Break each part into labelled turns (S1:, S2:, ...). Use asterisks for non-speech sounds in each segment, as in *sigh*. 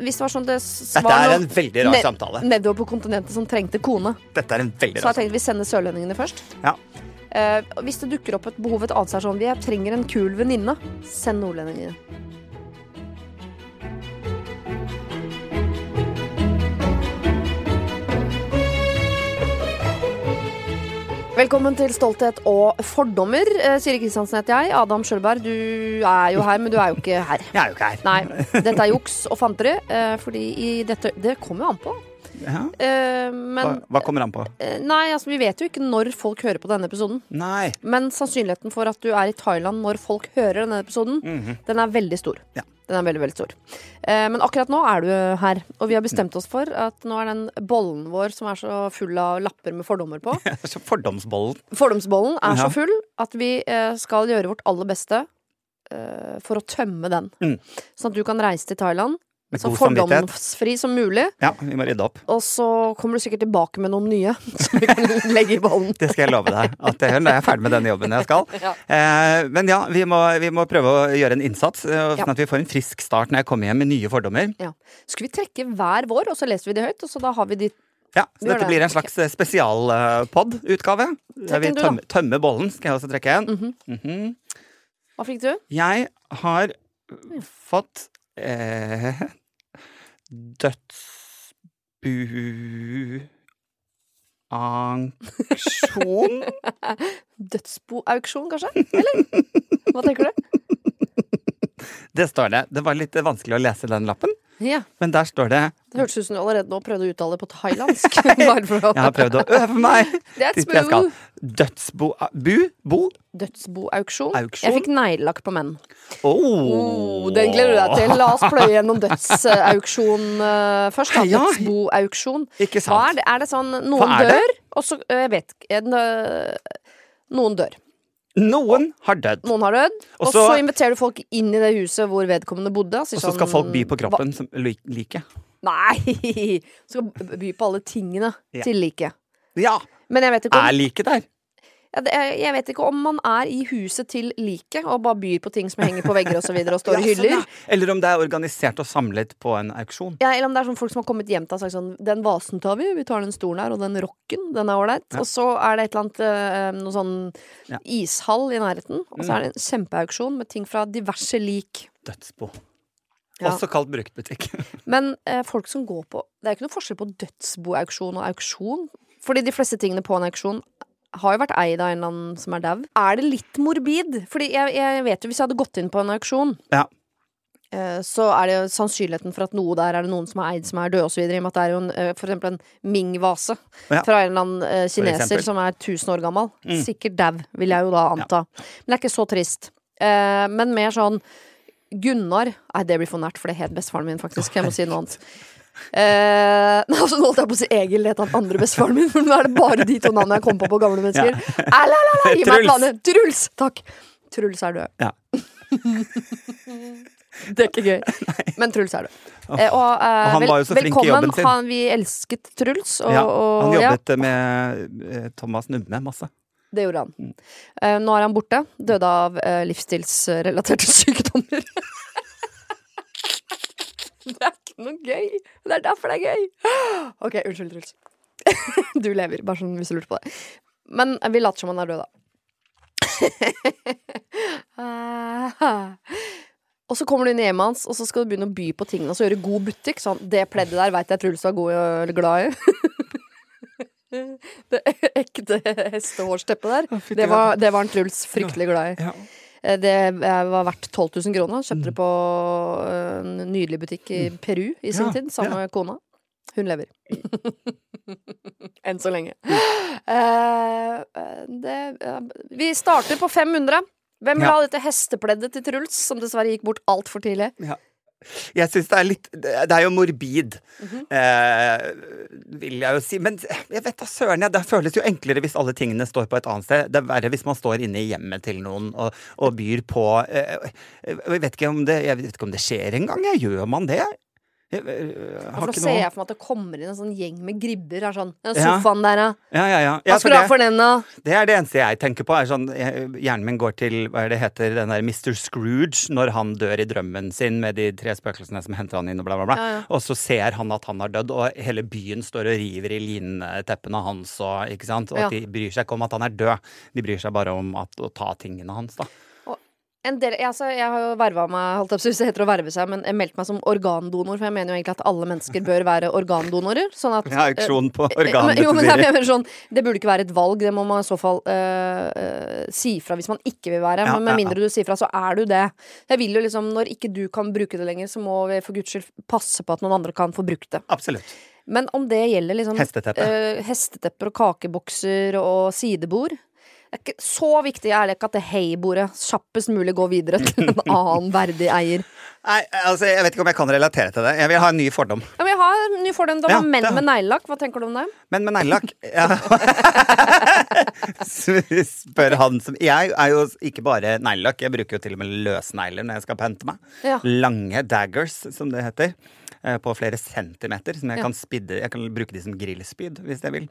S1: hvis det var sånn det s-
S2: Dette
S1: var
S2: er
S1: noe
S2: en veldig rar
S1: ned-
S2: samtale.
S1: Nedover på kontinentet som trengte kone.
S2: Dette er en veldig
S1: Så jeg
S2: rar
S1: tenkte vi sender sørlendingene først.
S2: Ja.
S1: Eh, og hvis det dukker opp et behov et annet sted, sånn vi er- trenger en kul venninne, send nordlendingene. Velkommen til Stolthet og fordommer. Eh, Siri Kristiansen heter jeg. Adam Sjølberg, du er jo her, men du er jo ikke her.
S2: Jeg er jo ikke her.
S1: Nei, dette er juks og fanteri, eh, fordi i dette Det kommer jo an på.
S2: Ja.
S1: Eh,
S2: Hva,
S1: Men
S2: hva kommer an på?
S1: Eh, Nei, altså vi vet jo ikke når folk hører på denne episoden.
S2: Nei. *laughs*
S1: Men sannsynligheten for at du er i Thailand når folk hører denne episoden, den er veldig stor.
S2: Mhm. Ja.
S1: Den er veldig, veldig stor. Eh, men akkurat nå er du her, og vi har bestemt oss for at nå er den bollen vår som er så full av lapper med fordommer
S2: *laughs*
S1: på
S2: Så fordomsbollen.
S1: Fordomsbollen er
S2: Ja.
S1: så full at vi eh, skal gjøre vårt aller beste eh, for å tømme den.
S2: Mm.
S1: Sånn at du kan reise til Thailand
S2: Med
S1: så
S2: god samvittighet.
S1: fordomsfri som mulig,
S2: Ja, vi må rydde opp.
S1: og så kommer du sikkert tilbake med noen nye *laughs* som vi kan legge i bollen.
S2: Det skal jeg love deg. At jeg, når jeg er ferdig med denne jobben jeg skal.
S1: *laughs* Ja.
S2: Eh, men ja, vi må, vi må prøve å gjøre en innsats, eh,
S1: Ja.
S2: sånn at vi får en frisk start når jeg kommer hjem med nye fordommer.
S1: Ja. Skulle vi trekke hver vår, og så leser vi de høyt? Og så da har vi de
S2: Ja, så
S1: Gjør
S2: dette
S1: det.
S2: blir en slags eh, spesialpod-utgave. eh, Der vi
S1: en du, da.
S2: tøm, tømmer bollen, skal jeg også trekke en. Mhm.
S1: Hva fikk du?
S2: Jeg har
S1: Mm.
S2: fått eh, dødsbuaksjon.
S1: *laughs* Dødsboauksjon, kanskje? Eller? Hva tenker du?
S2: Det står det. Det var litt vanskelig å lese den lappen,
S1: Ja,
S2: men der står det
S1: Det hørtes ut som du allerede nå prøvde å uttale det på thailandsk. *laughs* Bare for å
S2: Jeg har
S1: *laughs*
S2: prøvd å øve meg!
S1: Det er et
S2: Dit jeg skal.
S1: smooth
S2: Dødsbo... ah, Bu? Bo?
S1: dødsboauksjon.
S2: Auksjon?
S1: Jeg fikk neglelakk på menn.
S2: Oh.
S1: Oh, den gleder du deg til. La oss pløye gjennom dødsauksjon eh, først. Da.
S2: Ja.
S1: Dødsboauksjon.
S2: Ikke
S1: Hva er
S2: sant?
S1: det? Er det sånn noen
S2: er det?
S1: dør, og så eh, Jeg vet ikke. en, eh, Noen dør.
S2: Noen har dødd.
S1: Noen har dødd.
S2: Og
S1: Og så
S2: så-
S1: inviterer du folk inn i det huset hvor vedkommende bodde. sånn,
S2: Og så skal folk by på kroppen som lik- liket.
S1: Nei! *laughs* Skal b- by på alle tingene
S2: Ja.
S1: til liket.
S2: Ja!
S1: Men jeg vet, ikke
S2: Er
S1: om,
S2: liket der?
S1: ja, det er- jeg vet ikke om man er i huset til liket og bare byr på ting som henger på vegger og så videre og står i
S2: *laughs* Ja, sånn,
S1: hyller.
S2: ja. Eller om det er organisert og samlet på en auksjon.
S1: Ja, eller om det er sånn folk som har kommet hjem til og sagt sånn Den vasen tar vi, vi tar den stolen her, og den rocken, den er ålreit. Og så er det et eller annet eh, noe sånn
S2: Ja.
S1: ishall i nærheten. Og så er det en kjempeauksjon med ting fra diverse lik.
S2: Dødsbo.
S1: Ja.
S2: Også kalt bruktbutikk.
S1: Men eh, folk som går på Det er ikke noe forskjell på dødsboauksjon og auksjon. Fordi de fleste tingene på en auksjon har jo vært eid av en eller annen som er dau. Er det litt morbid? Fordi jeg, jeg vet jo, hvis jeg hadde gått inn på en auksjon
S2: Ja.
S1: eh, Så er det jo sannsynligheten for at noe der er det noen som er eid som er død osv. I og med at det er jo en, eh, for eksempel en Ming-vase
S2: Ja.
S1: fra en eller annen eh,
S2: eksempel. Mm.
S1: kineser som er 1000 år gammel. Sikkert dau, vil jeg jo da anta. Men det er ikke så trist. Eh, men mer sånn Gunnar Nei, det blir for nært, for det het bestefaren min, faktisk. Jeg må si noe annet. Eh, *laughs* nei, altså, nå holdt jeg på å si Egil, det het han andre bestefaren min, men nå er det bare de to navnene jeg kom på på gamle mennesker. *laughs* Æ, la, la, la, gi meg et
S2: Truls.
S1: navn. Truls! Takk. Truls er død.
S2: *laughs* Ja.
S1: det er ikke
S2: *laughs*
S1: gøy, men Truls er død. Eh, og, eh,
S2: Og han var jo så flink i
S1: velkommen.
S2: jobben sin.
S1: Han, vi elsket Truls. Og,
S2: Ja,
S1: og-
S2: han
S1: ja.
S2: jobbet med eh, Thomas Numme masse.
S1: Det gjorde han. Eh, nå er han borte. Døde av eh, livsstilsrelaterte *laughs* sykdommer. det er ikke noe gøy. Det er derfor det er gøy. *gasps* OK, unnskyld, Truls. *laughs* du lever, bare sånn hvis du lurte på det. Men eh, vi later som han er død, da. *laughs* Og så kommer du inn i hjemmet hans, og så skal du begynne å by på tingene. Og så gjøre god butikk. Sånn, det pleddet der veit jeg Truls var god i, eller glad i. *laughs* Det ekte hestehårsteppet der.
S2: fytti
S1: Det var, det var en Truls fryktelig glad i.
S2: Ja.
S1: Eh, Det eh, var verdt 12 000 kroner. Kjøpte det
S2: Mm.
S1: på eh, en nydelig butikk i Peru i sin
S2: Ja,
S1: tid, sammen med kona. Hun
S2: *laughs*
S1: lever. Enn så lenge. *laughs* Eh, eh, det, eh, vi starter på 500. Hvem vil
S2: Ja.
S1: ha dette hestepleddet til Truls, som dessverre gikk bort altfor tidlig?
S2: Jeg syns det er litt Det er jo morbid,
S1: Mhm.
S2: eh, vil jeg jo si. Men jeg vet da søren, jeg. Det føles jo enklere hvis alle tingene står på et annet sted. Det er verre hvis man står inne i hjemmet til noen og, og byr på eh, Jeg vet ikke om det Jeg vet ikke om det skjer engang. Gjør man det? Jeg, øh,
S1: For
S2: har
S1: da
S2: ikke
S1: ser
S2: noe
S1: jeg for meg at det kommer inn en sånn gjeng med gribber. Er sånn, den
S2: Ja.
S1: sofaen der, ja.
S2: Ja, ja, ja.
S1: Hva
S2: ja for
S1: skulle du ha
S2: det,
S1: for den, da?
S2: det er det eneste jeg tenker på. Er sånn, jeg, hjernen min går til hva er det heter, den der Mr. Scrooge når han dør i drømmen sin med de tre spøkelsene som henter han inn og bla, bla, bla.
S1: Ja, ja.
S2: Og så ser han at han har dødd, og hele byen står og river i linteppene hans og ikke sant. Og
S1: Ja.
S2: at de bryr seg ikke om at han er død, de bryr seg bare om at, å ta tingene hans, *laughs* da.
S1: En del, jeg, altså, jeg har jo verva meg, holdt jeg på å si, det heter å verve seg, men jeg meldte meg som organdonor, for jeg mener jo egentlig at alle mennesker bør være organdonorer. Sånn at
S2: *laughs* Jeg har auksjon på
S1: Eh, men-
S2: organet
S1: jo, men
S2: til
S1: jeg
S2: Siri.
S1: mener sånn, Det burde ikke være et valg, det må man i så fall eh, eh, si fra hvis man ikke vil være.
S2: Ja,
S1: men med
S2: ja, ja.
S1: mindre du sier fra, så er du det. Jeg vil jo liksom, Når ikke du kan bruke det lenger, så må vi for guds skyld passe på at noen andre kan få brukt det.
S2: Absolutt.
S1: Men om det gjelder liksom
S2: Hesteteppe.
S1: eh, hestetepper og kakebokser og sidebord det er ikke Så viktig er det ikke at det hei-bordet kjappest mulig går videre til
S2: *laughs*
S1: en annen verdig eier.
S2: Nei, altså, jeg vet ikke om jeg kan relatere til det. Jeg vil ha en ny fordom.
S1: Ja, men jeg har en ny fordel. Da
S2: Ja,
S1: var menn
S2: det har-
S1: med neglelakk. Hva tenker du om det?
S2: Men med neglelakk *laughs* ja. Spør han som Jeg er jo ikke bare neglelakk, jeg bruker jo til og med løsnegler når jeg skal pente meg.
S1: Ja.
S2: Lange daggers, som det heter. eh, På flere centimeter, som jeg
S1: Ja.
S2: kan spidde Jeg kan bruke de som grillspyd, hvis jeg vil.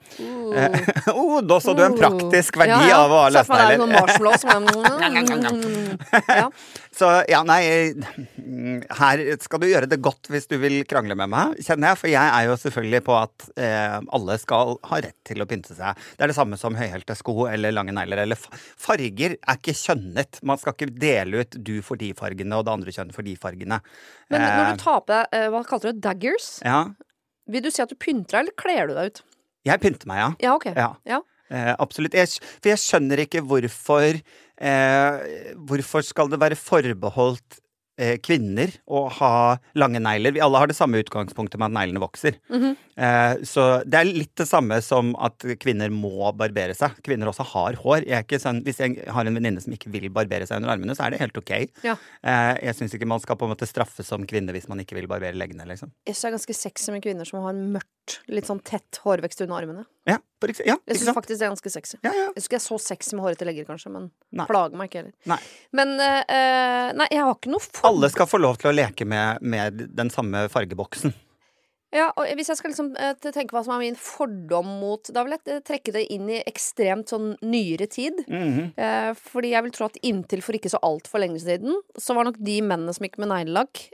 S2: Eh, *laughs* oh, da så du en praktisk verdi
S1: Ja, ja.
S2: av å ha
S1: Se for meg det er
S2: løsnegler. *laughs*
S1: Sånn marshmallow som er ja.
S2: Så ja, nei mm, Her skal du gjøre det godt hvis du vil krangle med meg, kjenner jeg. For jeg er jo selvfølgelig på at eh, alle skal ha rett til å pynte seg. Det er det samme som høyhælte sko eller lange negler eller fa- Farger er ikke kjønnet. Man skal ikke dele ut du for de fargene og det andre kjønnet for de fargene.
S1: Men når
S2: Eh,
S1: du tar på deg eh, Hva kalte du det? Daggers?
S2: Ja.
S1: Vil du si at du pynter deg, eller kler du deg ut?
S2: Jeg pynter meg, ja.
S1: Ja, ok.
S2: Ja.
S1: Ja.
S2: Eh, absolutt. Jeg, skj- for jeg skjønner ikke hvorfor eh, Hvorfor skal det være forbeholdt eh, kvinner å ha lange negler? Vi alle har det samme utgangspunktet med at neglene vokser.
S1: Mhm.
S2: eh, så det er litt det samme som at kvinner må barbere seg. Kvinner også har hår. Jeg er ikke sånn, hvis jeg har en venninne som ikke vil barbere seg under armene, så er det helt ok.
S1: Ja.
S2: Eh, jeg syns ikke man skal på en måte straffes som kvinne hvis man ikke vil barbere leggene, liksom.
S1: Jeg syns det er ganske sexy med kvinner som har mørkt, litt sånn tett hårvekst under armene.
S2: Ja, for ekse- ja,
S1: Jeg
S2: ikke
S1: syns
S2: sant?
S1: faktisk det er ganske sexy.
S2: Ja, ja.
S1: Jeg skulle jeg så sexy med hårete legger, kanskje, men
S2: Nei.
S1: plager meg ikke heller.
S2: Nei.
S1: Men eh, eh, nei, jeg har ikke noe for...
S2: Alle skal få lov til å leke med, med den samme fargeboksen.
S1: Ja, og Hvis jeg skal liksom eh, te- tenke hva som er min fordom mot Da vil jeg eh, trekke det inn i ekstremt sånn nyere tid. Eh, fordi jeg vil tro at inntil for ikke så altfor lenge siden, så var nok de mennene som gikk med neglelakk,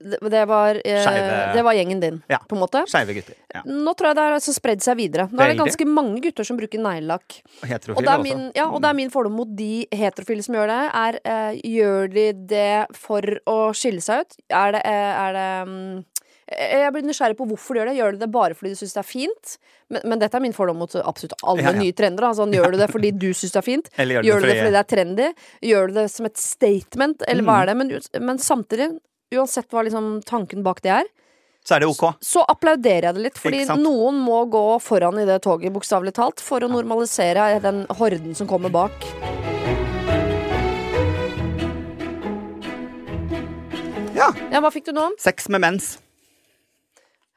S1: det, det, var, eh,
S2: Skeive.
S1: det var gjengen din,
S2: Ja.
S1: på en måte.
S2: Skeive gutter. Ja.
S1: Nå tror jeg det har altså spredd seg videre. Nå er det
S2: Veldig.
S1: ganske mange gutter som bruker neglelakk. Og,
S2: Og heterofile
S1: det er
S2: også.
S1: min- ja, og det
S2: Mm.
S1: er min fordom mot de heterofile som gjør det, er eh, gjør de det for å skille seg ut? Er det, eh, er det mm, eh, jeg blir nysgjerrig på hvorfor de gjør det. Gjør de det bare fordi de syns det er fint? Men, men dette er min fordom mot absolutt alle
S2: Ja, ja.
S1: nye trender. da.
S2: *laughs*
S1: Sånn, gjør du det fordi du syns det er fint?
S2: Eller gjør,
S1: Gjør du det
S2: fordi
S1: fordi det er trendy? Gjør du det som et statement, eller
S2: Mm.
S1: hva er det? Men, u- men samtidig, uansett hva liksom tanken bak det er,
S2: Så er det ok.
S1: så applauderer jeg det litt. Fordi
S2: Ikke sant?
S1: noen må gå foran i det toget, bokstavelig talt, for å normalisere den horden som kommer bak.
S2: Ja.
S1: Ja, hva fikk du nå?
S2: Sex med mens.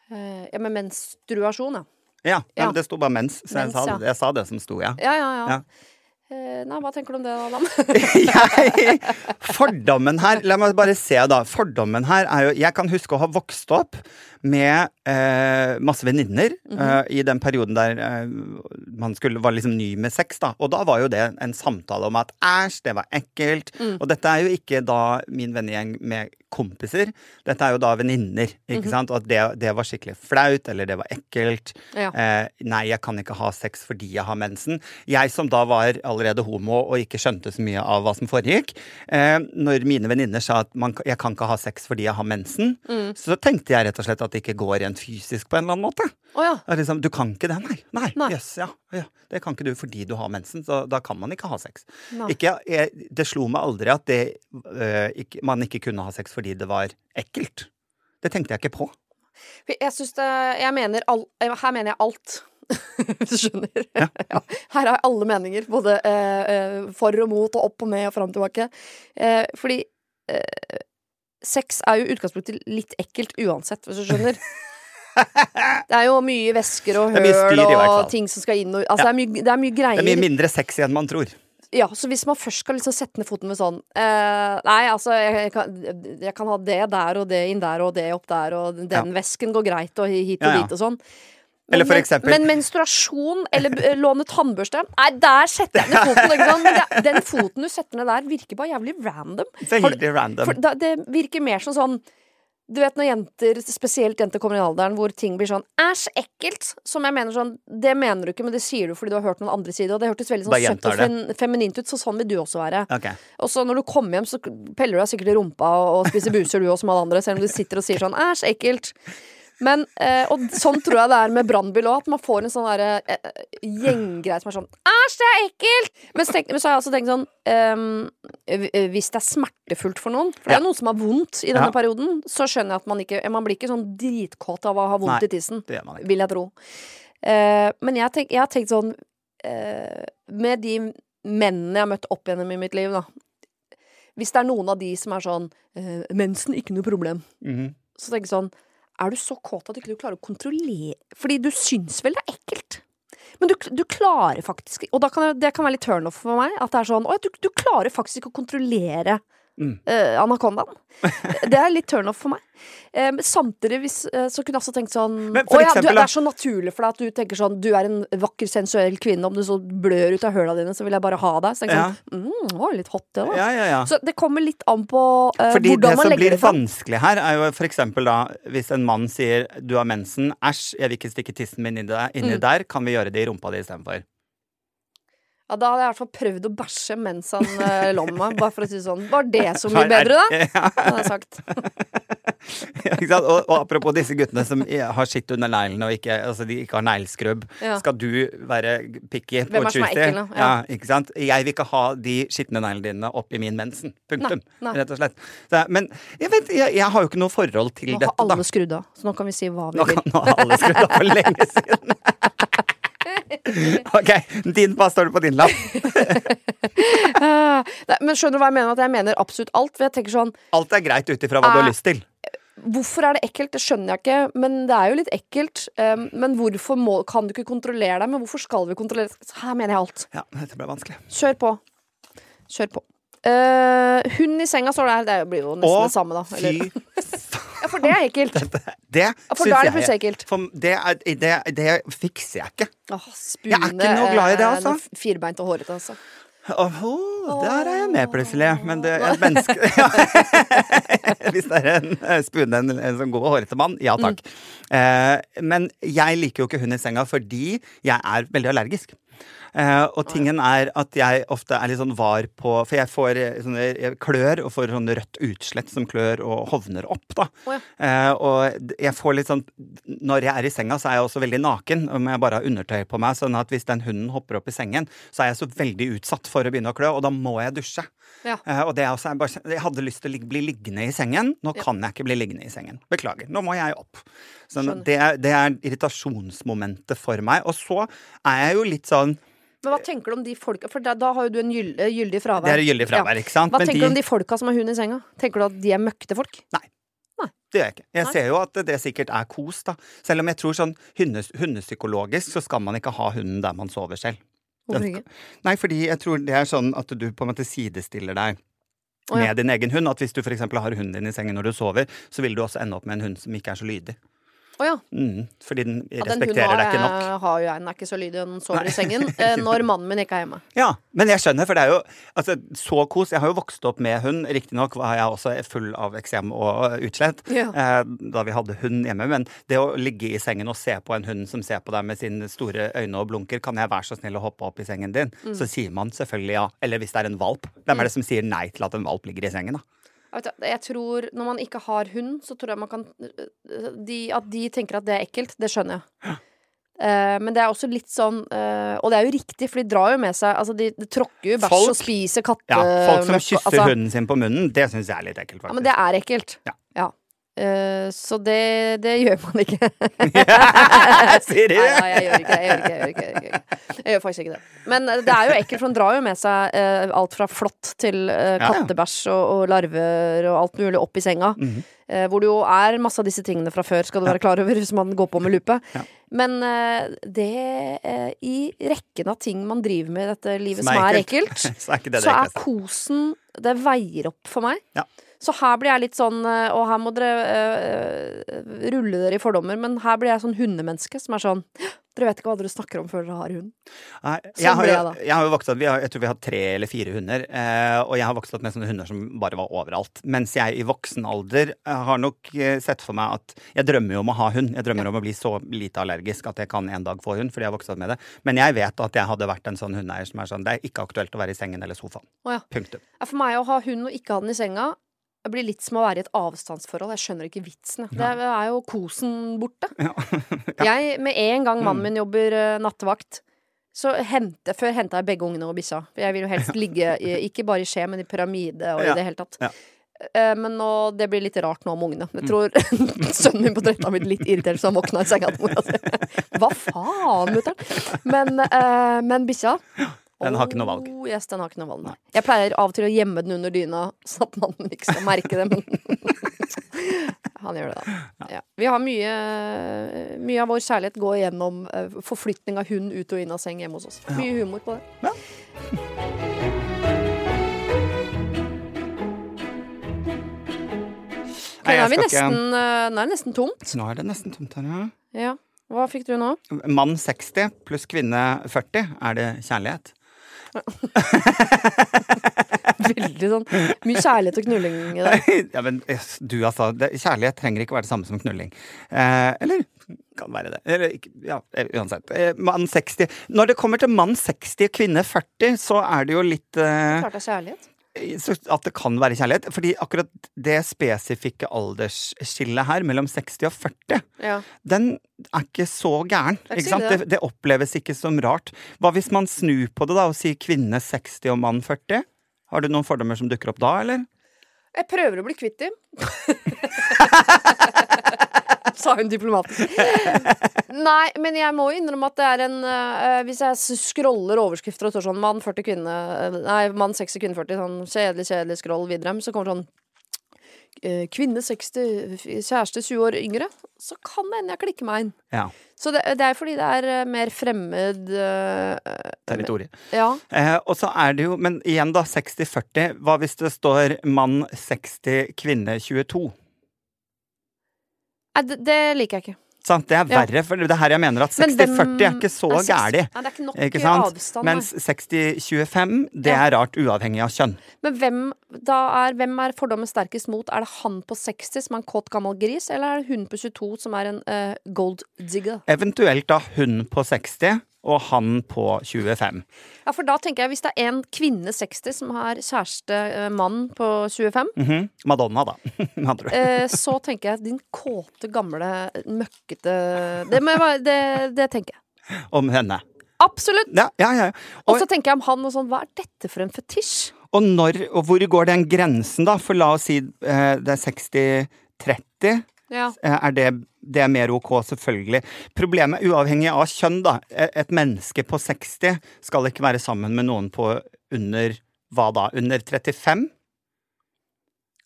S1: Eh, ja, med menstruasjon, ja.
S2: Ja,
S1: Ja.
S2: men det sto bare mens, så jeg,
S1: Mens,
S2: sa,
S1: ja.
S2: det- jeg sa det som sto, ja.
S1: Ja, ja, ja. Eh, nei, hva tenker du om det, Adam? *laughs*
S2: *laughs* jeg, fordommen her La meg bare se, da. Fordommen her er jo Jeg kan huske å ha vokst opp med eh, masse venninner eh, i den perioden der eh, man skulle, var liksom ny med sex, da. Og da var jo det en samtale om at æsj, det var ekkelt. Og dette er jo ikke da min vennegjeng med kompiser. Dette er jo da venninner, ikke sant. Og at det, det var skikkelig flaut, eller det var ekkelt.
S1: Ja.
S2: Eh, nei, jeg kan ikke ha sex fordi jeg har mensen. Jeg som da var allerede homo og ikke skjønte så mye av hva som foregikk, eh, når mine venninner sa at man, jeg kan ikke ha sex fordi jeg har mensen,
S1: Mm.
S2: så tenkte jeg rett og slett at det ikke går rent fysisk på en eller annen måte.
S1: Å ja.
S2: Det er liksom, du kan ikke det, nei. Nei,
S1: Nei.
S2: jøss, ja, ja. Det kan ikke du fordi du har mensen, så da kan man ikke ha sex.
S1: Nei.
S2: Ikke, jeg, det slo meg aldri at det, øh, ikke, man ikke kunne ha sex fordi det var ekkelt. Det tenkte jeg ikke på.
S1: For Jeg syns det Jeg mener all, Her mener jeg alt. *laughs* Hvis du skjønner. *laughs* Ja. Her har jeg alle meninger. Både eh, eh, for og mot og opp og ned og fram og tilbake. Eh, fordi eh, sex er jo i utgangspunktet litt ekkelt uansett, hvis du
S2: *laughs*
S1: skjønner. Det er jo mye væsker og
S2: Det er mye styr i
S1: høl
S2: hvert
S1: og
S2: fall.
S1: ting som skal inn og Altså, det, er mye, det er mye
S2: Det
S1: greier.
S2: er mye mindre sexy enn man tror.
S1: Ja, så hvis man først skal liksom sette ned foten med sånn eh, Nei, altså, jeg, jeg, kan, jeg kan ha det der og det inn der og det opp der, og den
S2: Ja.
S1: vesken går greit, og hit og
S2: Ja, ja.
S1: dit og sånn.
S2: Eller for
S1: men-
S2: eksempel-
S1: Men menstruasjon eller eh, låne tannbørste Nei, der setter jeg ned foten! Ikke sant? Men det, den foten du setter ned der, virker bare jævlig random. Har du-
S2: Veldig random.
S1: for da, det virker mer som sånn du vet når jenter, spesielt jenter kommer i den alderen hvor ting blir sånn æsj, ekkelt. Som jeg mener sånn, det mener du ikke, men det sier du fordi du har hørt noen andre si det. Og det hørtes veldig
S2: Bare
S1: sånn søtt
S2: gjentar
S1: og fen feminint ut, så sånn vil du også være.
S2: Ok.
S1: Og så når du kommer hjem, så peller du deg sikkert i rumpa og, og spiser buser du også, som alle andre, selv om du sitter og sier sånn æsj, ekkelt. Men, eh, Og sånn tror jeg det er med brannbil òg, at man får en sånn derre, eh, gjenggreie som er sånn æsj, det er ekkelt! Men, så tenk, men så har jeg også tenkt sånn ehm, eh, Hvis det er smertefullt for noen, for det er jo noen som har vondt i denne
S2: Ja.
S1: perioden, så skjønner jeg at man ikke Man blir ikke sånn dritkåt av å ha vondt
S2: Nei.
S1: i tissen
S2: Det gjør man ikke.
S1: vil jeg tro. Eh, men jeg, tenk, jeg har tenkt sånn eh, Med de mennene jeg har møtt opp gjennom i mitt liv, da. Hvis det er noen av de som er sånn eh, 'Mensen, ikke noe problem',
S2: Mhm.
S1: så tenker jeg sånn Er du så kåt at du ikke klarer å kontrollere Fordi du syns vel det er ekkelt? Men du, du klarer faktisk Og da kan jeg, det kan være litt turnoff for meg. At det er sånn Å, du, du klarer faktisk ikke å kontrollere
S2: Mm.
S1: eh,
S2: *laughs*
S1: anakondaen. Det er litt turnoff for meg. Eh, men samtidig hvis, eh, så kunne jeg også tenkt sånn Å
S2: Men for
S1: ja, du,
S2: eksempel,
S1: det
S2: da-
S1: er så naturlig for deg at du tenker sånn Du er en vakker, sensuell kvinne. Om du så blør ut av høla dine, så vil jeg bare ha deg. Så tenker jeg sånn mm, Å, litt hot, det, da.
S2: Ja, ja, ja.
S1: Så det kommer litt an på eh,
S2: Fordi det
S1: hvordan man
S2: som
S1: legger
S2: blir
S1: det fram.
S2: vanskelig her, er jo for eksempel da hvis en mann sier 'du har mensen', 'æsj, jeg vil ikke stikke tissen min inni deg-
S1: Mm.
S2: inni der', kan vi gjøre det i rumpa di istedenfor?
S1: Ja, da hadde jeg i hvert fall prøvd å bæsje mens han eh, lå med meg. Bare for å si det sånn. Var det så mye bedre, da?
S2: *laughs* Ja,
S1: Hadde jeg sagt.
S2: ikke sant? Og, og apropos disse guttene som i- har skitt under neglene og ikke, altså de ikke har negleskrubb.
S1: Ja.
S2: Skal du være picky
S1: Hvem
S2: på
S1: er som er
S2: Tuesday?
S1: ekkel, da? Ja.
S2: ikke sant? Jeg vil ikke ha de skitne neglene dine oppi min mensen. Punktum.
S1: Nei, nei.
S2: Rett og slett. Så, men jeg, vet, jeg, jeg har jo ikke noe forhold til
S1: Nå har
S2: dette, da.
S1: alle skrudd av, så nå kan vi si hva vi
S2: Nå
S1: vil.
S2: kan nå har alle skrudd av for lenge siden. OK. Din, hva står det på din lapp?
S1: Eh, *laughs* Nei, men skjønner du hva jeg mener? At jeg mener absolutt alt. For jeg tenker sånn
S2: Alt er greit ut ifra hva du
S1: Ah.
S2: har lyst til.
S1: Hvorfor er det ekkelt? Det skjønner jeg ikke, men det er jo litt ekkelt. Eh, men hvorfor må, kan du ikke kontrollere deg? Men hvorfor skal vi kontrollere Her mener jeg alt.
S2: Ja, dette ble vanskelig.
S1: Kjør på. Kjør på. Eh, hund i senga står der. Det blir jo nesten
S2: Å,
S1: det samme, da. Eller,
S2: Fy
S1: ja, for det er ekkelt.
S2: *laughs* Det
S1: for da er det
S2: syns
S1: plutselig
S2: jeg
S1: ekkelt.
S2: for det, er, det, det fikser jeg ikke.
S1: Åh, spune,
S2: Jeg er ikke noe glad i det,
S1: eh,
S2: altså.
S1: noe Firbeint og hårete, altså.
S2: Åh, der er jeg med, plutselig. Men det er et menneske *laughs* ja. Hvis det er en eh, spune, en, en sånn god og hårete mann, ja takk.
S1: Mm.
S2: Eh, men jeg liker jo ikke hund i senga fordi jeg er veldig allergisk. Eh, og tingen er at jeg ofte er litt sånn var på For jeg får eh, sånne jeg klør og får sånn rødt utslett som klør og hovner opp, da.
S1: Å,
S2: Eh, og d- jeg får litt sånn Når jeg er i senga, så er jeg også veldig naken, om jeg bare har undertøy på meg. Sånn at hvis den hunden hopper opp i sengen, så er jeg så veldig utsatt for å begynne å klø, og da må jeg dusje.
S1: Ja.
S2: Eh, og det er også, jeg, bare, jeg hadde lyst til å lig- bli liggende i sengen. Nå kan jeg ikke bli liggende i sengen. Beklager. Nå må jeg opp. Sånn, at det, er- det er irritasjonsmomentet for meg. Og så er jeg jo litt sånn
S1: Men hva tenker du om de folka For da, da har jo du en gyll- eh, gyldig fravær.
S2: Det er gyldig fravær, ikke sant?
S1: Hva
S2: Men
S1: tenker
S2: de-
S1: du om de folka som har hund i senga? Tenker du at de er møkkete folk?
S2: Det gjør jeg ikke. Jeg
S1: Nei.
S2: ser jo at det sikkert er kos, da. Selv om jeg tror sånn hundes, hundepsykologisk så skal man ikke ha hunden der man sover selv.
S1: Hvorfor
S2: Den-
S1: ikke?
S2: Nei, fordi jeg tror det er sånn at du på en måte sidestiller deg
S1: Å, ja.
S2: med din egen hund. At hvis du f.eks. har hunden din i sengen når du sover, så vil du også ende opp med en hund som ikke er så lydig.
S1: Å ja.
S2: Mm, fordi den
S1: Ja, den hunden
S2: respekterer
S1: har,
S2: deg ikke nok.
S1: jeg- har jo jeg, den er ikke så lydig, den sover i sengen
S2: *laughs*
S1: eh, når mannen min ikke er hjemme.
S2: Ja, men jeg skjønner, for det er jo altså, så kos. Jeg har jo vokst opp med hund. Riktignok var jeg også full av eksem og utslett
S1: Ja.
S2: eh, da vi hadde hund hjemme, men det å ligge i sengen og se på en hund som ser på deg med sine store øyne og blunker, kan jeg være så snill å hoppe opp i sengen din?
S1: Mm.
S2: Så sier man selvfølgelig ja. Eller hvis det er en valp. Hvem er det som sier nei til at en valp ligger i sengen, da?
S1: Jeg, vet, ikke, jeg tror Når man ikke har hund, så tror jeg man kan eh, de, At de tenker at det er ekkelt, det skjønner jeg. Eh, men det er også litt sånn eh, Og det er jo riktig, for de drar jo med seg altså De, de tråkker jo i bæsj
S2: Folk-
S1: og spiser katte...
S2: Ja, folk som
S1: møkk-
S2: kysser
S1: altså,
S2: hunden sin på munnen, det syns jeg er litt ekkelt,
S1: Ja,
S2: faktisk.
S1: men det er ekkelt.
S2: Ja.
S1: Eh, så det, det gjør man ikke.
S2: *laughs* Sier de.
S1: *laughs* Nei, nei, jeg gjør ikke det. Jeg gjør, ikke, det, jeg, gjør ikke, det, jeg, gjør ikke. det. jeg gjør faktisk ikke det. Men eh, det er jo ekkelt, for den drar jo med seg eh, alt fra flått til eh,
S2: ja.
S1: kattebæsj og, og larver og alt mulig opp i senga. eh, hvor det jo er masse av disse tingene fra før, skal du være klar over, hvis man går på med lupe. Men eh, det eh, I rekken av ting man driver med i dette livet som er ekkelt,
S2: *laughs* Så er ikke det det
S1: så er
S2: ekleste.
S1: kosen Det veier opp for meg.
S2: Ja.
S1: Så her blir jeg litt sånn eh, Og her må dere eh, rulle dere i fordommer, men her blir jeg sånn hundemenneske som er sånn Dere vet ikke hva dere snakker om før dere har hund.
S2: Nei,
S1: Sånn
S2: jeg, har,
S1: ble
S2: jo-
S1: jeg da.
S2: jeg har jo vokst opp vi har, Jeg tror vi har tre eller fire hunder. Eh, og jeg har vokst opp med sånne hunder som bare var overalt. Mens jeg i voksen alder eh, har nok eh, sett for meg at Jeg drømmer jo om å ha hund. Jeg drømmer om å bli så lite allergisk at jeg kan en dag få hund. Fordi jeg har vokst opp med det. Men jeg vet at jeg hadde vært en sånn hundeeier som er sånn Det er ikke aktuelt å være i sengen eller sofaen.
S1: Å ja.
S2: Punktum.
S1: Ja, For meg å ha hund og ikke ha den i senga det blir litt som å være i et avstandsforhold. Jeg skjønner ikke vitsen. jeg. Det er jo kosen borte.
S2: Ja. *laughs* Mm.
S1: Jeg, med en gang mannen min jobber eh, nattevakt, så hente, før henta jeg begge ungene og bikkja. For Jeg vil jo
S2: *laughs*
S1: helst ligge i, ikke bare i skje, men i pyramide og
S2: Ja.
S1: i det hele tatt.
S2: Ja. Mm.
S1: Eh, Men nå, det blir litt rart nå med ungene. Jeg tror *laughs* sønnen min på 13 har blitt litt irritert så han våkna i senga til mora si. Hva faen, mutter'n? Men, eh, men bikkja
S2: Den har ikke noe valg.
S1: Oh, yes, den har ikke noe valg, nei. Jeg pleier av og til å gjemme den under dyna, sånn at mannen min ikke skal merke det. Men *laughs* han gjør det, da. Ja. Vi har mye Mye av vår kjærlighet går gjennom eh, forflytning av hund ut og inn av seng hjemme hos oss. Mye humor på det. Ok,
S2: Nei,
S1: nå
S2: jeg
S1: er vi
S2: skal ikke-
S1: nesten, eh, nå er det nesten tomt.
S2: Så nå er det nesten tomt her, ja.
S1: Ja. Hva fikk du
S2: *laughs*
S1: nå?
S2: Mann 60 pluss kvinne 40, er det kjærlighet?
S1: Veldig sånn mye kjærlighet og knulling i
S2: *laughs*
S1: det.
S2: ja, men yes, du altså, det, kjærlighet trenger ikke være det samme som knulling. Eh, eller kan være det. Eller, ikke- ja, eh, uansett. Eh, mann 60. Når det kommer til mann 60 og kvinne 40, så er det jo litt eh,
S1: Klart det er kjærlighet.
S2: så at det kan være kjærlighet. Fordi akkurat det spesifikke aldersskillet her, mellom 60 og 40,
S1: Ja.
S2: den er ikke så gæren.
S1: er ikke
S2: Ikke
S1: så
S2: sant?
S1: ille,
S2: Det, det oppleves ikke som rart. Hva hvis man snur på det da og sier kvinne 60 og mann 40? Har du noen fordommer som dukker opp da, eller?
S1: Jeg prøver å bli kvitt
S2: *laughs*
S1: dem. Sa hun diplomatisk. *laughs* Nei, men jeg må jo innrømme at det er en eh, Hvis jeg s- scroller overskrifter og står sånn mann 40 kvinne eh, Nei, mann 60 kvinne 40, sånn kjedelig, kjedelig scroll videre, så kommer sånn eh, Kvinne 60, f- kjæreste 20 år yngre. Så kan det hende jeg klikker meg inn.
S2: Ja.
S1: Så det, det er fordi det er eh, mer fremmed eh,
S2: Territoriet.
S1: Ja.
S2: Eh, og så er det jo, men igjen da, 60-40. Hva hvis det står mann 60, kvinne 22?
S1: Nei, det, det liker jeg ikke.
S2: Sant? Det er
S1: Ja.
S2: verre, for det er her jeg mener at
S1: Men
S2: 60-40 er
S1: hvem
S2: ikke så
S1: er seks-
S2: gæli.
S1: Nei, det er ikke nok
S2: Ikke sant?
S1: avstand. nei.
S2: Mens 60-25, det
S1: Ja.
S2: er rart uavhengig av kjønn.
S1: Men hvem, da er, hvem er fordommen sterkest mot? Er det han på 60 som er en kåt gammel gris, eller er det hun på 22 som er en eh, gold digger?
S2: Eventuelt da hun på 60 og han på 25.
S1: Ja, for da tenker jeg hvis det er en kvinne 60 som har kjæreste eh, mann på 25,
S2: Mhm. Madonna, da. *laughs* med andre ord.
S1: eh, så *laughs* tenker jeg din kåte, gamle, møkkete Det, må jeg bare- det, det tenker jeg.
S2: Om henne.
S1: Absolutt!
S2: Ja, ja, ja.
S1: Og
S2: Og,
S1: så tenker jeg om han og sånn, hva er dette for en fetisj?
S2: og når og hvor går den grensen, da? For la oss si eh, det er 60-30.
S1: Ja.
S2: Eh, er det, det er mer ok, selvfølgelig. Problemet, uavhengig av kjønn, da. eh, Et menneske på 60 skal ikke være sammen med noen på under hva da? Under 35?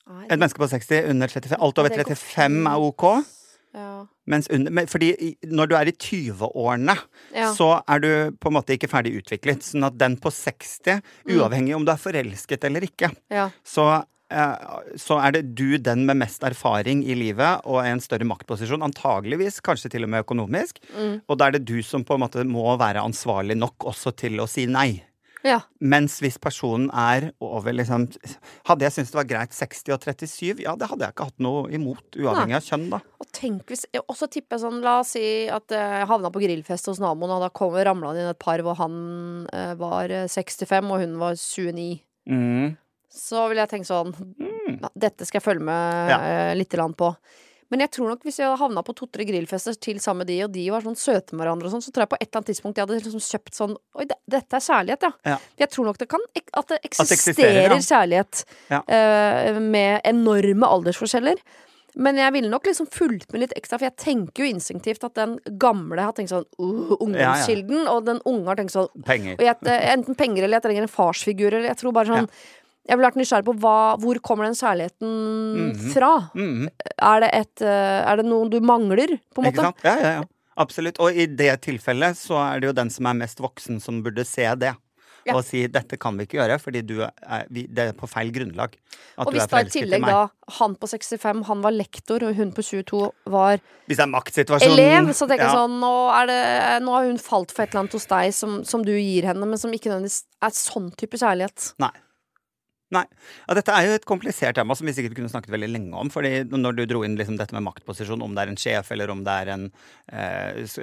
S1: Nei,
S2: Et menneske på 60 under 35. Alt over
S1: det går
S2: 35 er ok.
S1: ja.
S2: Mens under, men fordi i- når du er i 20-årene,
S1: Ja.
S2: så er du på en måte ikke ferdig utviklet. Sånn at den på 60,
S1: Mm.
S2: uavhengig om du er forelsket eller ikke,
S1: ja.
S2: så, eh, så er det du den med mest erfaring i livet og en større maktposisjon, antageligvis kanskje til og med økonomisk.
S1: Mm.
S2: Og da er det du som på en måte må være ansvarlig nok også til å si nei.
S1: ja.
S2: Mens hvis personen er over liksom Hadde jeg syntes det var greit 60 og 37, ja, det hadde jeg ikke hatt noe imot, uavhengig av kjønn, da.
S1: Og tenk hvis Og så tipper jeg sånn, la oss si at eh, jeg havna på grillfest hos naboen, og da kom, ramla det inn et par hvor han eh, var eh, 65 og hun var 29. Så ville jeg tenkt sånn "Ja, Dette skal jeg følge med
S2: Ja.
S1: eh, litt grann på. Men jeg tror nok hvis jeg hadde havna på to-tre grillfester til sammen med de, og de var sånn søte med hverandre og sånn, så tror jeg på et eller annet tidspunkt jeg hadde liksom kjøpt sånn Oi, det, dette er kjærlighet, ja.
S2: Ja.
S1: Jeg tror nok det kan ek- At det
S2: det
S1: eksisterer
S2: eksisterer, ja.
S1: kjærlighet
S2: Ja.
S1: eh, med enorme aldersforskjeller. Men jeg ville nok liksom fulgt med litt ekstra, for jeg tenker jo instinktivt at den gamle har tenkt sånn uh, Ungdomskilden, og den unge har tenkt sånn
S2: Penger.
S1: og jeg, Enten penger eller jeg trenger en farsfigur, eller jeg tror bare sånn Jeg ville vært nysgjerrig på hva, hvor kommer den kjærligheten fra?
S2: Mhm.
S1: Er det et eh, Er det noe du mangler, på en
S2: Ikke
S1: måte?
S2: sant? Ja, ja, ja. Absolutt. Og i det tilfellet så er det jo den som er mest voksen, som burde se det.
S1: Ja.
S2: Og si 'dette kan vi ikke gjøre, fordi du er, vi, det er på feil grunnlag'. At
S1: Og
S2: du
S1: hvis
S2: er
S1: da i
S2: forelsket i
S1: tillegg
S2: meg.
S1: da han på 65, han var lektor, og hun på 22 var
S2: Hvis det er maktsituasjonen
S1: elev, så tenker jeg
S2: Altså, Ja.
S1: sånn nå, er det, nå har hun falt for et eller annet hos deg som, som du gir henne, men som ikke nødvendigvis er sånn type kjærlighet.
S2: Nei. Nei. Ja, dette er jo et komplisert tema som vi sikkert kunne snakket veldig lenge om. fordi når du dro inn liksom dette med maktposisjon, om det er en sjef eller om det er en eh, s-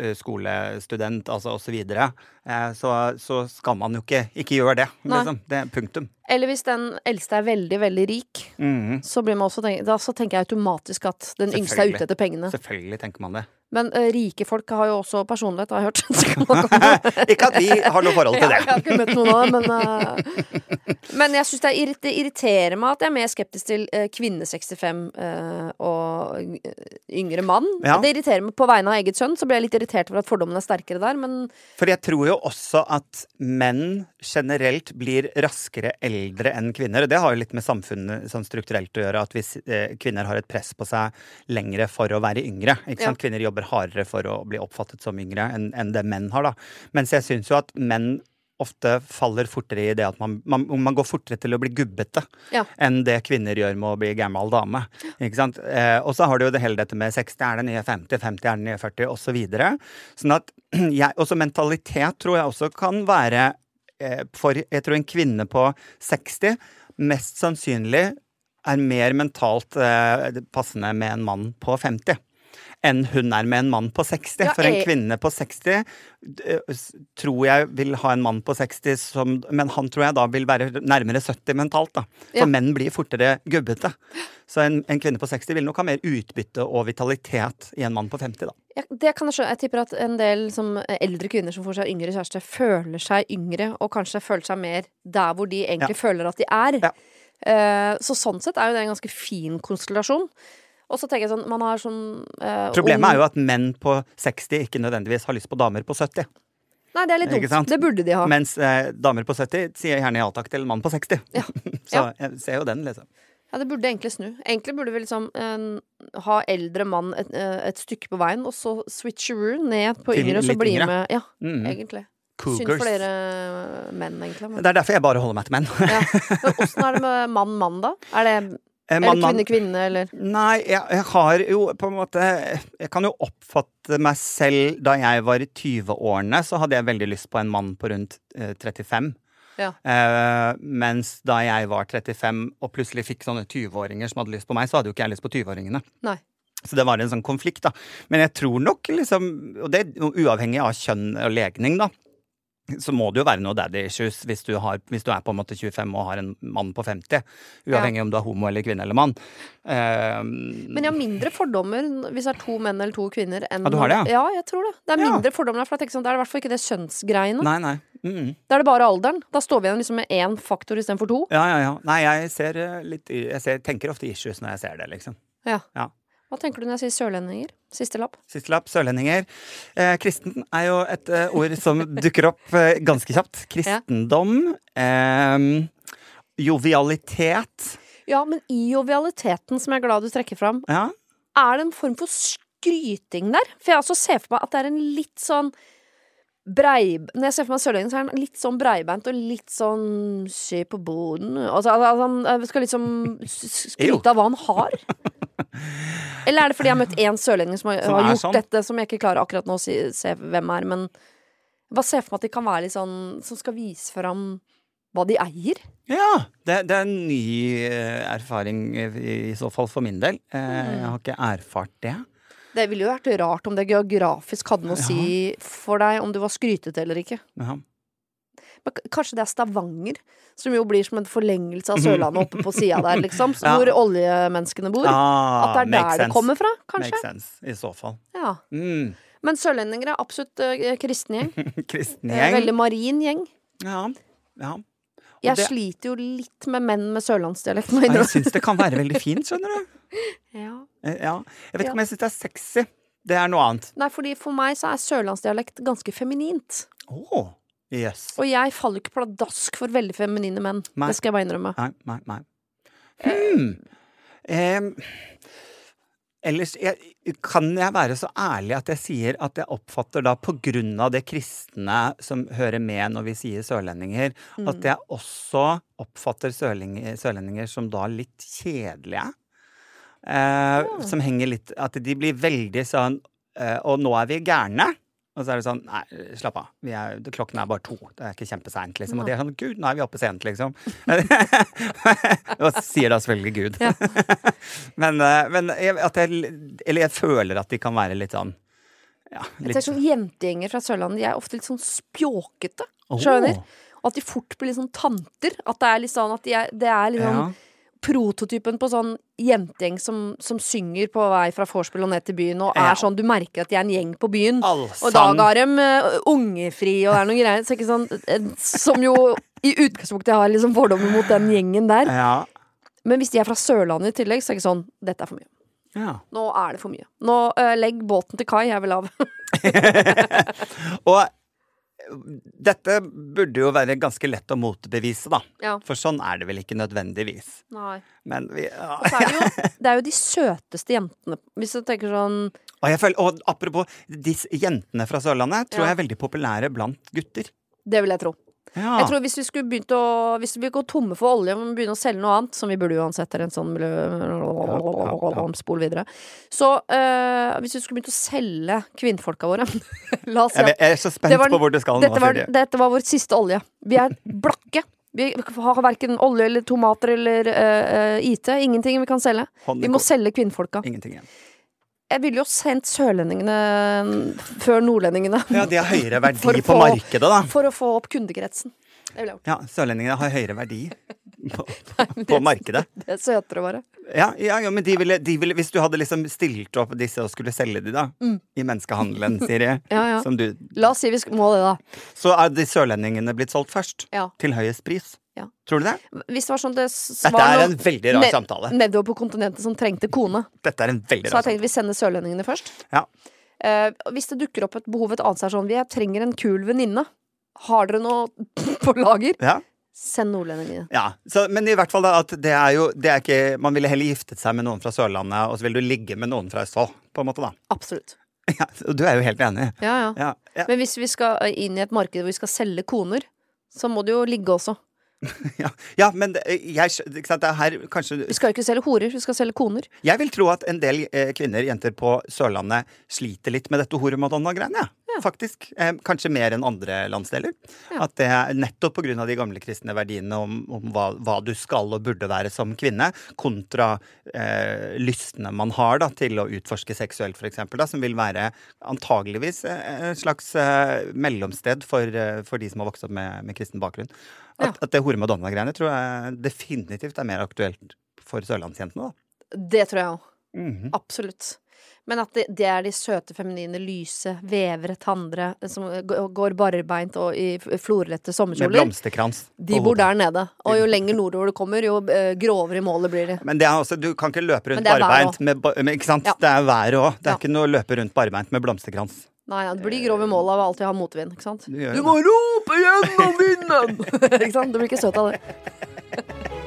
S2: skolestudent altså osv., så, videre, eh, så, så skal man jo ikke ikke gjøre det.
S1: Nei.
S2: Liksom. Det er punktum.
S1: Eller hvis den eldste er veldig, veldig rik,
S2: Mhm.
S1: så, blir man også tenk, da, så tenker jeg automatisk at den yngste er
S2: Selvfølgelig.
S1: ute etter pengene.
S2: Selvfølgelig tenker man det.
S1: Men eh, rike folk har jo også personlighet, har jeg hørt. *laughs* Så kan man
S2: *laughs*
S1: komme-
S2: ikke at vi har noe forhold til
S1: Ja, jeg
S2: det.
S1: har ikke møtt noen av dem, men eh, Men jeg syns det, er irrit- det irriterer meg at jeg er mer skeptisk til eh, kvinne 65 eh, og eh, yngre mann.
S2: Ja.
S1: Det irriterer meg på vegne av eget sønn, så blir jeg litt irritert over at fordommene er sterkere der, men
S2: For jeg tror jo også at menn generelt blir raskere eldre enn kvinner. Og det har jo litt med samfunnet sånn strukturelt å gjøre, at hvis eh, kvinner har et press på seg lengre for å være yngre. Ikke
S1: Ja.
S2: sant? Kvinner jobber hardere for å bli oppfattet som yngre enn enn det menn har, da. Mens jeg syns jo at menn ofte faller fortere i det at man, man, man går fortere til å bli gubbete
S1: Ja.
S2: enn det kvinner gjør med å bli gammel dame. Ikke sant? Eh, og så har du jo det hele dette med 60 er det nye 50, 50 er det nye 40, osv. Sånn at *clears throat* jeg Også mentalitet tror jeg også kan være eh, For jeg tror en kvinne på 60 mest sannsynlig er mer mentalt eh, passende med en mann på 50 enn hun er med en mann på 60.
S1: Ja,
S2: For en
S1: jeg-
S2: kvinne på 60 eh, s- tror jeg vil ha en mann på 60 som Men han tror jeg da vil være nærmere 70 mentalt, da. For
S1: Ja.
S2: menn blir fortere gubbete. Så en, en kvinne på 60 vil nok ha mer utbytte og vitalitet i en mann på 50, da.
S1: Ja, det kan jeg skjønne. Jeg tipper at en del som eh, eldre kvinner som får seg yngre kjæreste, føler seg yngre, og kanskje føler seg mer der hvor de egentlig føler at de er.
S2: Ja.
S1: Eh, så sånn sett er jo det en ganske fin konstellasjon. Og så tenker jeg sånn, man har sånn eh,
S2: Problemet
S1: ung-
S2: er jo at menn på 60 ikke nødvendigvis har lyst på damer på 70.
S1: Nei, det er litt
S2: Ikke sant?
S1: dumt. Det burde de ha.
S2: Mens eh, damer på 70 sier gjerne ja takk til en mann på 60.
S1: Ja.
S2: *laughs* Så jeg ser jo den, liksom.
S1: Ja, det burde egentlig snu. Egentlig burde vi liksom eh, ha eldre mann et, eh, et stykke på veien, og så switcheroo ned på
S2: Til
S1: yngre, og så
S2: litt
S1: bli
S2: yngre.
S1: med. Ja,
S2: Mm.
S1: egentlig. Synd
S2: Cougars.
S1: for dere menn, egentlig. Men,
S2: Det er derfor jeg bare holder meg til menn. *laughs*
S1: ja. men åssen er det med mann-mann, da? Er det
S2: Eh,
S1: Eller
S2: mann, mann.
S1: kvinne-kvinne, eller
S2: Nei, jeg, jeg har jo på en måte Jeg kan jo oppfatte meg selv Da jeg var i 20-årene, så hadde jeg veldig lyst på en mann på rundt eh, 35.
S1: Ja.
S2: Eh, mens da jeg var 35 og plutselig fikk sånne 20-åringer som hadde lyst på meg, så hadde jo ikke jeg lyst på 20-åringene.
S1: Nei.
S2: Så det var en sånn konflikt, da. Men jeg tror nok, liksom, og det er jo uavhengig av kjønn og legning, da, så må det jo være noe daddy issues hvis du, har, hvis du er på en måte 25 og har en mann på 50. Uavhengig om du er homo eller kvinne eller mann. Ehm,
S1: Men jeg har mindre fordommer hvis det er to menn eller to kvinner. Enn
S2: Ja, du har det,
S1: ja? jeg tror det. Det er
S2: Ja.
S1: mindre fordommer der, for jeg tenker sånn, da er det i hvert fall ikke det kjønnsgreiene.
S2: Nei, nei. Mm.
S1: Da er det bare alderen. Da står vi igjen liksom med én faktor istedenfor to.
S2: Ja, ja, ja. Nei, jeg ser eh, litt Jeg ser, tenker ofte issues når jeg ser det, liksom.
S1: Ja.
S2: Ja.
S1: Hva tenker du når jeg sier sørlendinger? Siste lapp.
S2: Siste lapp, sørlendinger. Eh, kristen er jo et eh, ord som *laughs* dukker opp eh, ganske kjapt. Kristendom. ehm, jovialitet.
S1: Ja, men i jovialiteten, som jeg er glad du trekker fram,
S2: Ja.
S1: er det en form for skryting der? For jeg også ser for meg at det er en litt sånn brei... Når jeg ser for meg sørlendingen, så er han litt sånn breibeint og litt sånn skje på boden altså, altså, altså, Han eh, skal liksom s-
S2: Jo.
S1: skryte av hva han har. Eller er det fordi jeg har møtt én sørlending som har,
S2: Som
S1: har
S2: er
S1: gjort
S2: sånn.
S1: dette, som jeg ikke klarer akkurat nå å si, se hvem er, men jeg bare ser for meg at de kan være litt sånn som skal vise fram hva de eier.
S2: Ja! Det, det er en ny eh, erfaring eh, i, i så fall for min del. Eh,
S1: Mm.
S2: jeg har ikke erfart det.
S1: Det ville jo vært rart om det geografisk hadde noe å si for deg om du var skrytete eller ikke.
S2: Ja.
S1: Men k- kanskje det er Stavanger, som jo blir som en forlengelse av Sørlandet oppe på sida der, liksom. så
S2: Mhm. *laughs* Ja.
S1: Hvor oljemenneskene bor.
S2: Ah,
S1: At det er der
S2: makes
S1: det kommer fra, kanskje.
S2: Makes sense, i så fall.
S1: Ja.
S2: Mm. *laughs*
S1: Men sørlendinger er absolutt eh, kristen gjeng.
S2: Kristen
S1: Eh,
S2: gjeng.
S1: Veldig marin gjeng.
S2: Ja. ja.
S1: Jeg
S2: det-
S1: sliter jo litt med menn med sørlandsdialekt. må jeg
S2: Nei, jeg
S1: innrømme.
S2: syns det kan være veldig fint, skjønner du.
S1: Ja.
S2: Eh, Ja.
S1: *laughs*
S2: Jeg vet
S1: Ja.
S2: ikke om jeg syns det er sexy. Det er noe annet.
S1: Nei, fordi for meg så er sørlandsdialekt ganske feminint.
S2: Å! Yes.
S1: Og jeg faller ikke pladask for veldig feminine menn.
S2: Nei.
S1: Det skal jeg bare innrømme.
S2: Nei, nei, nei. Hmm. Em, ellers jeg, kan jeg være så ærlig at jeg sier at jeg oppfatter da, på grunn av det kristne som hører med når vi sier sørlendinger, at jeg også oppfatter sørlendinger, sørlendinger som da litt kjedelige. Eh, Som henger litt At de blir veldig sånn eh, Og nå er vi gærne. Og så er det sånn Nei, slapp av. Vi er, klokken er bare to. Det er ikke kjempeseint, liksom. Og de er sånn Gud, nå er vi oppe sent, liksom. *laughs* og sier da selvfølgelig Gud.
S1: Ja.
S2: *laughs* men eh, men jeg, at jeg Eller jeg føler at de kan være litt sånn Ja,
S1: Jeg ser
S2: litt
S1: sånn Jentegjenger fra Sørlandet De er ofte litt sånn spjåkete.
S2: Åh.
S1: Skjønner? Og at de fort blir litt sånn tanter. At det er litt sånn at de er, det er litt sånn
S2: ja.
S1: prototypen på sånn jentegjeng som, som synger på vei fra vorspiel og ned til byen, og
S2: Ja.
S1: er sånn Du merker at de er en gjeng på byen. Og i
S2: Allsang.
S1: dag har de eh, ungefri og det er noen greier. Så ikke sånn, eh, som jo i utgangspunktet har liksom fordommer mot den gjengen der.
S2: Ja.
S1: Men hvis de er fra Sørlandet i tillegg, så er det ikke sånn Dette er for mye.
S2: ja.
S1: Nå er det for mye. Nå eh, legg båten til kai, jeg vil av.
S2: Og dette burde jo være ganske lett å motbevise, da.
S1: ja.
S2: For sånn er det vel ikke nødvendigvis.
S1: Nei.
S2: Men vi ja. *laughs*
S1: Så er det, jo, det er jo de søteste jentene. Hvis du tenker sånn
S2: og, jeg føler, og apropos, disse jentene fra Sørlandet tror
S1: Ja.
S2: jeg er veldig populære blant gutter.
S1: Det vil jeg tro.
S2: Ja.
S1: Jeg tror Hvis vi skulle begynt å Hvis vi går tomme for olje og begynne å selge noe annet, som vi burde uansett er en sånn
S2: ja.
S1: Spol videre. Så eh, hvis vi skulle begynt å selge kvinnfolka våre *laughs* La oss si at
S2: jeg, vet- jeg er så spent
S1: Det var den-
S2: på hvor du skal nå,
S1: dette var,
S2: Silje.
S1: dette var vår siste olje. Vi er blakke. Vi har verken olje eller tomater eller eh, eh, IT. Ingenting vi kan selge.
S2: Hånden i
S1: Vi må
S2: kors.
S1: selge kvinnfolka.
S2: Ingenting igjen.
S1: Jeg ville jo sendt sørlendingene før nordlendingene.
S2: Ja, de har høyere
S1: For å
S2: verdi på
S1: få-
S2: markedet, da.
S1: For å få opp kundekretsen. Det ville jeg gjort.
S2: Ja, sørlendingene har høyere verdi
S1: *laughs*
S2: på, på markedet.
S1: Det er søtere, bare.
S2: Ja, ja, ja men de ville, de ville Hvis du hadde liksom stilt opp disse og skulle selge de, da, i menneskehandelen, Siri,
S1: Mm. Ja, ja.
S2: som du
S1: La oss si vi sk- må det, da.
S2: Så er de sørlendingene blitt solgt først?
S1: Ja.
S2: Til høyest pris?
S1: Ja.
S2: Tror du det?
S1: Hvis det var sånn det s-
S2: Dette
S1: var
S2: er
S1: noe
S2: en veldig rar
S1: ned-
S2: samtale.
S1: nedover på kontinentet som trengte kone,
S2: Dette er en veldig
S1: så
S2: rar
S1: jeg tenkte vi sender sørlendingene først.
S2: Ja.
S1: Eh, og hvis det dukker opp et behov et annet sted, sånn vi trenger en kul venninne, har dere noe *laughs* på lager?
S2: samtale. Ja.
S1: Send nordlendingene.
S2: Ja, så, Men i hvert fall da, at det er jo det er ikke, Man ville heller giftet seg med noen fra Sørlandet, og så ville du ligge med noen fra Østfold. på en måte da.
S1: Absolutt.
S2: Ja, og du er jo helt enig.
S1: Ja, ja.
S2: Ja, ja,
S1: Men hvis vi skal eh, inn i et marked hvor vi skal selge koner, så må det jo ligge også.
S2: ja, ja men det- jeg, skj- ikke sant, det er her kanskje
S1: Vi skal jo ikke selge horer, vi skal selge koner.
S2: Jeg vil tro at en del eh, kvinner, jenter på Sørlandet, sliter litt med dette horemadonna-greiene. Ja. Faktisk. Eh, kanskje mer enn andre landsdeler.
S1: Ja.
S2: At det er nettopp pga. de gamle kristne verdiene om, om hva, hva du skal og burde være som kvinne, kontra eh, lystene man har da, til å utforske seksuelt, f.eks., som vil være antageligvis eh, et slags eh, mellomsted for, eh, for de som har vokst opp med, med kristen bakgrunn. At,
S1: Ja.
S2: at det horemadonna-greiene tror jeg definitivt er mer aktuelt for sørlandsjentene, da.
S1: Det tror jeg òg.
S2: Mhm.
S1: Absolutt. Men at det, det er de søte, feminine, lyse, vevre tandre som g- går barbeint og i f- florlette
S2: Med
S1: sommerkjoler.
S2: blomsterkrans.
S1: De
S2: på
S1: bor
S2: hodet.
S1: der nede. Og jo lenger nordover du kommer, jo eh, grovere i målet blir de.
S2: Men det er også, du kan ikke løpe
S1: Men
S2: rundt
S1: det er vær
S2: barbeint med, ba- med Ikke sant?
S1: Ja.
S2: Det er været òg. Det er
S1: Ja.
S2: ikke noe å løpe rundt barbeint med blomsterkrans.
S1: Nei, ja, du blir grov i målet av å alltid ha motvind, ikke sant?
S2: Du gjør
S1: Du
S2: det.
S1: må rope gjennom vinden! *laughs* ikke sant? Du blir ikke søt av det.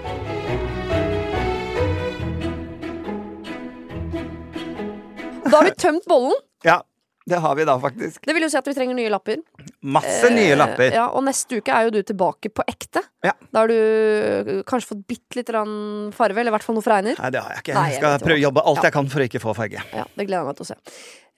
S1: Da har vi tømt bollen.
S2: Ja, det har vi da, faktisk.
S1: Det vil jo si at vi trenger nye lapper.
S2: Masse nye lapper.
S1: Eh, Ja, og neste uke er jo du tilbake på ekte.
S2: Ja.
S1: Da har du eh, kanskje fått bitte litt grann farve, eller i hvert fall noe fra einer.
S2: Nei, det har jeg ikke.
S1: Nei,
S2: Jeg
S1: jeg
S2: skal
S1: vet jo.
S2: prøve å jobbe alt
S1: Ja.
S2: jeg kan for å ikke få farge.
S1: Ja, det gleder jeg meg til å se.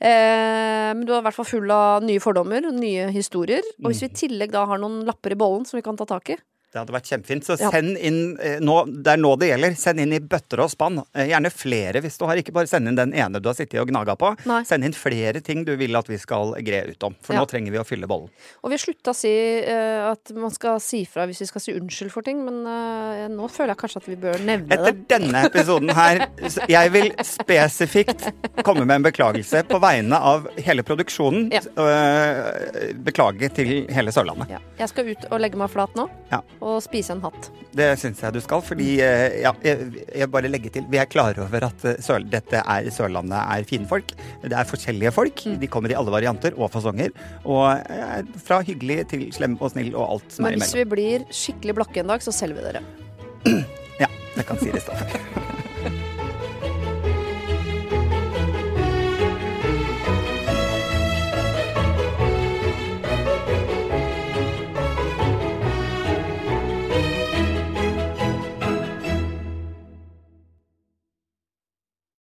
S1: Eh, men du er i hvert fall full av nye fordommer og nye historier. Og hvis vi i tillegg da har noen lapper i bollen som vi kan ta tak i
S2: Det hadde vært kjempefint. Så
S1: Ja.
S2: send inn eh, nå, Det er nå det gjelder. Send inn i bøtter og spann. Eh, Gjerne flere hvis du har. Ikke bare send inn den ene du har sittet og gnaga på.
S1: Nei.
S2: Send inn flere ting du vil at vi skal gre ut om. For
S1: Ja.
S2: nå trenger vi å fylle bollen.
S1: Og vi har slutta å si eh, at man skal si fra hvis vi skal si unnskyld for ting, men eh, nå føler jeg kanskje at vi bør nevne
S2: Etter
S1: det.
S2: denne episoden her så Jeg vil spesifikt komme med en beklagelse på vegne av hele produksjonen.
S1: Ja.
S2: Øh, Beklage til hele Sørlandet.
S1: Ja. Jeg skal ut og legge meg flat nå.
S2: Ja.
S1: og spise en hatt.
S2: Det syns jeg du skal, fordi eh, ja, jeg, jeg bare legger til. Vi er klar over at eh, Sør dette er, Sørlandet er fine folk. Det er forskjellige folk.
S1: Mm.
S2: De kommer i alle varianter og fasonger. Og eh, fra hyggelig til slem og snill og alt som
S1: Men
S2: er
S1: hvis
S2: imellom.
S1: vi blir skikkelig blakke en dag, så selger vi dere.
S2: Ja, det kan Siri stå for.